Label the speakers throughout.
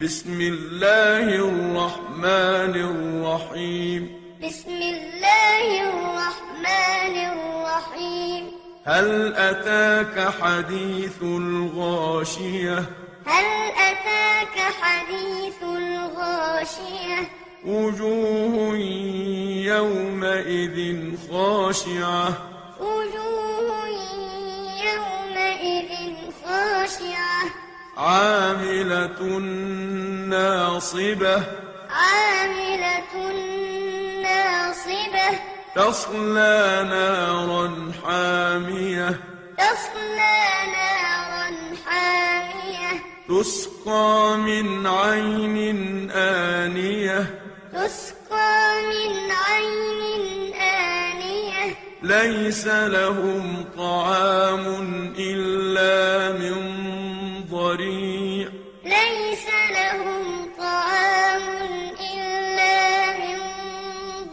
Speaker 1: بسم الله الرحمن الرحيم
Speaker 2: بسم الله الرحمن الرحيم
Speaker 1: هل أتاك حديث الغاشية
Speaker 2: هل أتاك حديث الغاشية
Speaker 1: وجوه يومئذ خاشعة
Speaker 2: وجوه يومئذ خاشعة
Speaker 1: عاملة ناصبة
Speaker 2: عاملة ناصبة
Speaker 1: تصلى نارا حامية
Speaker 2: تصلى نارا حامية
Speaker 1: تسقى من عين آنية
Speaker 2: تسقى من عين آنية
Speaker 1: ليس لهم طعام إلا من ضريع
Speaker 2: ليس لهم طعام إلا من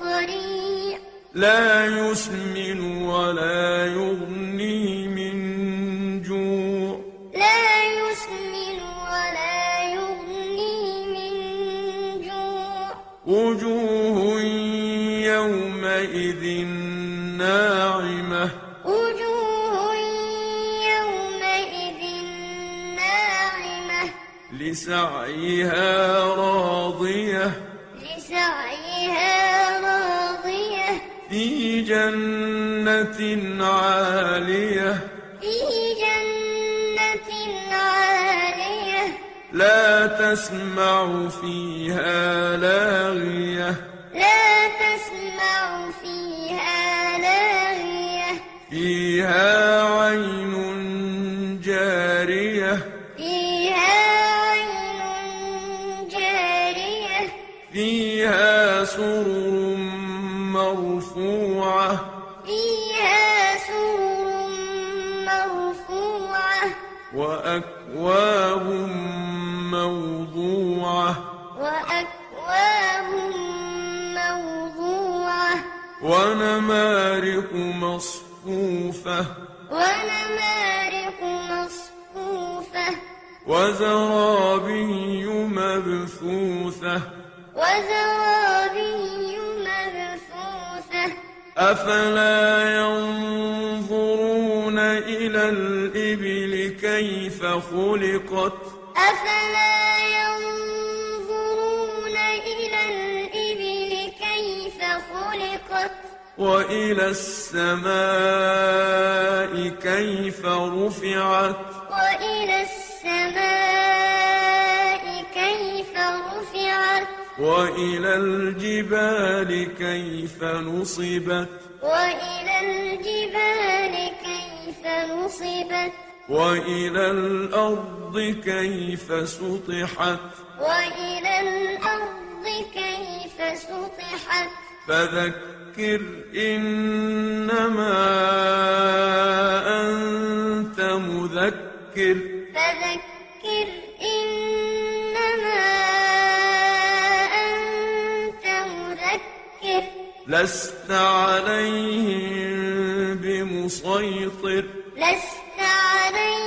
Speaker 2: ضريع
Speaker 1: لا يسمن ولا يغني من جوع
Speaker 2: لا يسمن ولا يغني من جوع
Speaker 1: وجوه يومئذ ناعمة
Speaker 2: وجوه يومئذ ناعمة
Speaker 1: لسعيها راضية
Speaker 2: لسعيها راضية
Speaker 1: في جنة عالية
Speaker 2: في جنة عالية
Speaker 1: لا تسمع فيها لاغية
Speaker 2: لا تسمع فيها لاغية
Speaker 1: فيها عين جارية
Speaker 2: فيها عين جارية
Speaker 1: فيها سرر مرفوعة
Speaker 2: فيها سور مرفوعة
Speaker 1: وأكواب موضوعة
Speaker 2: وأكواب موضوعة
Speaker 1: ونمارق مصفوفة
Speaker 2: ونمارق مصفوفة
Speaker 1: وزرابي مبثوثة
Speaker 2: وزرابي مبثوثة
Speaker 1: أفلا ينظرون إلى الإبل كيف خلقت
Speaker 2: أفلا ينظرون إلى الإبل كيف خلقت
Speaker 1: وإلى السماء كيف رفعت
Speaker 2: وإلى السماء كيف رفعت
Speaker 1: وإلى الجبال كيف نصبت
Speaker 2: وإلى الجبال كيف نصبت
Speaker 1: وإلى الأرض كيف سطحت
Speaker 2: وإلى الأرض كيف سطحت
Speaker 1: فذكر إنما أنت مذكر
Speaker 2: فذكر إنما أنت مذكر
Speaker 1: لست عليهم بمسيطر
Speaker 2: لست عليهم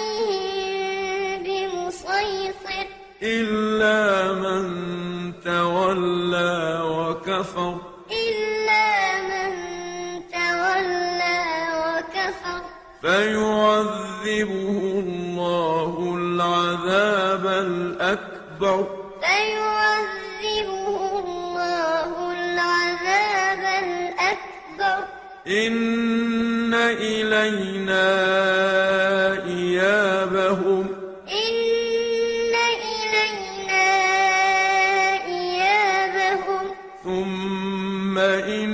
Speaker 2: بمسيطر
Speaker 1: إلا من تولى وكفر
Speaker 2: إلا من تولى وكفر
Speaker 1: فيعذبه الله العذاب الأكبر
Speaker 2: فيعذبه الله العذاب الأكبر
Speaker 1: إن إلينا إيابهم
Speaker 2: إن إلينا إيابهم
Speaker 1: ثم إن